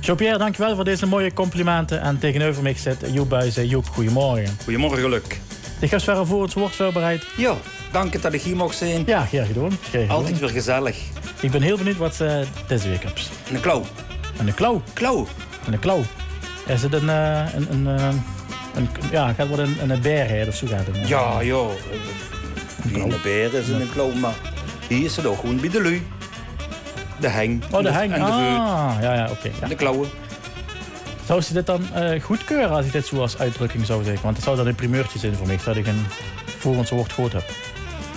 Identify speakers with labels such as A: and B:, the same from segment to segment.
A: Jean-Pierre, dankjewel voor deze mooie complimenten. En tegenover mij zit Joep Buijzen. Joep, goedemorgen.
B: Goedemorgen, Luc.
A: De gastveren voor het woord voorbereid.
B: Ja, dank het dat ik hier mocht zijn.
A: Ja, graag gedaan. Graag gedaan.
B: Altijd weer gezellig.
A: Ik ben heel benieuwd wat ze deze week hebben.
B: En een klauw.
A: En de klauw.
B: Klauw.
A: En de klauw. Is het een... eh, een, een, eh, een ja, gaat worden een, een bergheid of zo gaat het.
B: Ja, joh.
A: klauw.
B: In de beer is het een klauw, maar hier is het ook gewoon bij de lui. De heng.
A: Oh,
B: en
A: de heng.
B: En de veut.
A: Ah, ja, ja, oké. ja.
B: En de klauwen.
A: Zou ze dit dan eh, goedkeuren als ik dit zo als uitdrukking zou zeggen? Want het zou dan een primeurtje zijn voor mij, dat ik een voor ons woord goed heb.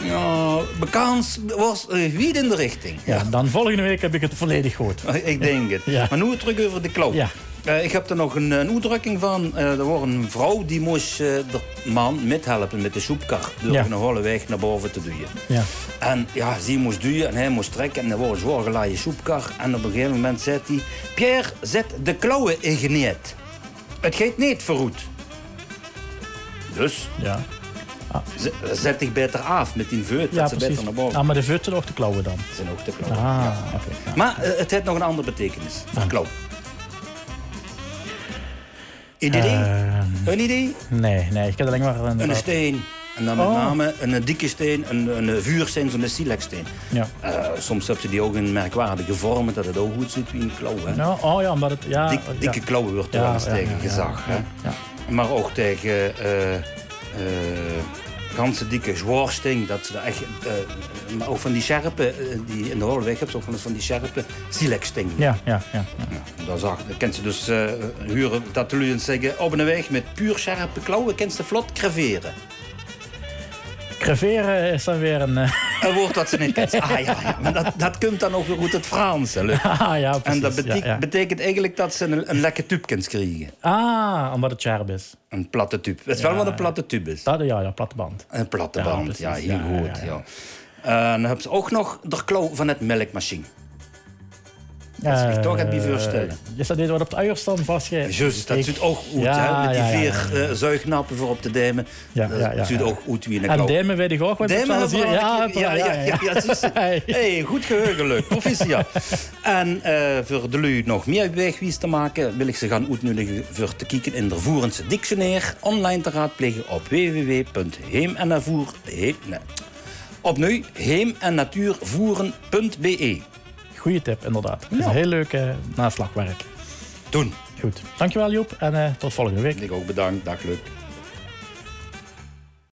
B: Ja, bekans was eh, wie in de richting.
A: Ja. Dan volgende week heb ik het volledig goed.
B: Ik denk het.
A: Ja.
B: Maar nu terug over de klauw.
A: Ja.
B: Eh, ik heb er nog een, een uitdrukking van. Eh, er was een vrouw die moest eh, de man methelpen met de soepkar. Door
A: Ja.
B: een holle weg naar boven te duwen.
A: Ja.
B: En ja, zij moest duwen en hij moest trekken. En er was een zwaar geladen soepkar. En op een gegeven moment zei hij... Pierre, zet de klauwen in geneet. Het geeft niet verroet. Dus
A: Ja,
B: ze- zet zich beter af met die veut.
A: ja
B: dat ze beter naar boven
A: Ah, maar de vutten of de klauwen dan?
B: zijn ook de
A: Ah,
B: klauwen.
A: oké. ja.
B: Maar eh, het heeft nog een andere betekenis. Van klauw. Een idee?
A: Eh,
B: een idee?
A: nee, nee, ik heb alleen maar een...
B: Een steen. En dan met
A: Oh.
B: name een, eh, dikke steen, een, een eh, vuursteen, zo'n sileksteen.
A: Ja.
B: Eh, soms heb je die ook in merkwaardige vormen, dat het ook goed zit in klauwen. hè.
A: Nou, oh ja, omdat het... Ja,
B: Dik-
A: ja.
B: dikke klauwen wordt er
A: Ja,
B: wel eens
A: ja,
B: tegen
A: ja, ja,
B: gezag. hè.
A: ja.
B: Maar ook tegen eh, eh, ganse dikke zwaarsting. Dat ze daar echt, eh, maar ook van die scherpe, eh, die in de Holleweg heb je ook van- van die scherpe sileksting.
A: Ja, ja, ja. ja.
B: Ja, Dat, is hard. dat kent ze dus eh, huren, dat jullie eens zeggen, op een weg met puur scherpe klauwen, kent ze vlot creveren.
A: Creveren is dan weer een... eh,
B: Een woord dat ze niet kent. Ah ja, ja. Maar dat, dat komt dan ook weer uit het Frans. hè, Luc.
A: ah, ja,
B: En
A: precies.
B: dat betek-
A: ja, ja.
B: betekent eigenlijk dat ze een, een lekker tube kunt krijgen.
A: Ah, omdat het scherp is.
B: Een platte tube. Het is wel wat een platte tube is.
A: Dat, ja, ja, platte band.
B: Een platte
A: Ja,
B: band,
A: precies.
B: ja, heel
A: Ja, ja,
B: goed.
A: ja.
B: Ja, Eh, dan hebben ze ook nog de klauw van het melkmachine.
A: Dat
B: is toch het bijvoorstellen.
A: Eh, Is dat dit wat op het uierstand vastgeeft?
B: Juist, dat
A: Ik-
B: zit ook uit,
A: Ja,
B: hè, met die
A: ja, ja,
B: vier
A: ja,
B: eh, zuignappen voor op de dijmen.
A: Ja, ja, ja,
B: dat zit
A: ja.
B: ook uit wie in de
A: En
B: klauw.
A: Dijmen weet ik ook. Want
B: Dijmen
A: dat was hier-
B: hebben we al
A: ja,
B: een keer- ja, ja, ja, ja, zus. hey, goed geheugen, leuk. Proficiat. en eh, voor de lui nog meer wegwies te maken, wil ik ze gaan uitnodigen voor te kijken in de Voerense Dictionair. Online te raadplegen op www.heem en navoer. Heem, nee. Op nu, heem en natuurvoeren.be.
A: Goeie tip, inderdaad. Het is een heel leuk eh, naslagwerk.
B: Doen.
A: Goed. Dankjewel Joep en eh, tot volgende week.
B: Ik ook bedankt. Dag, leuk.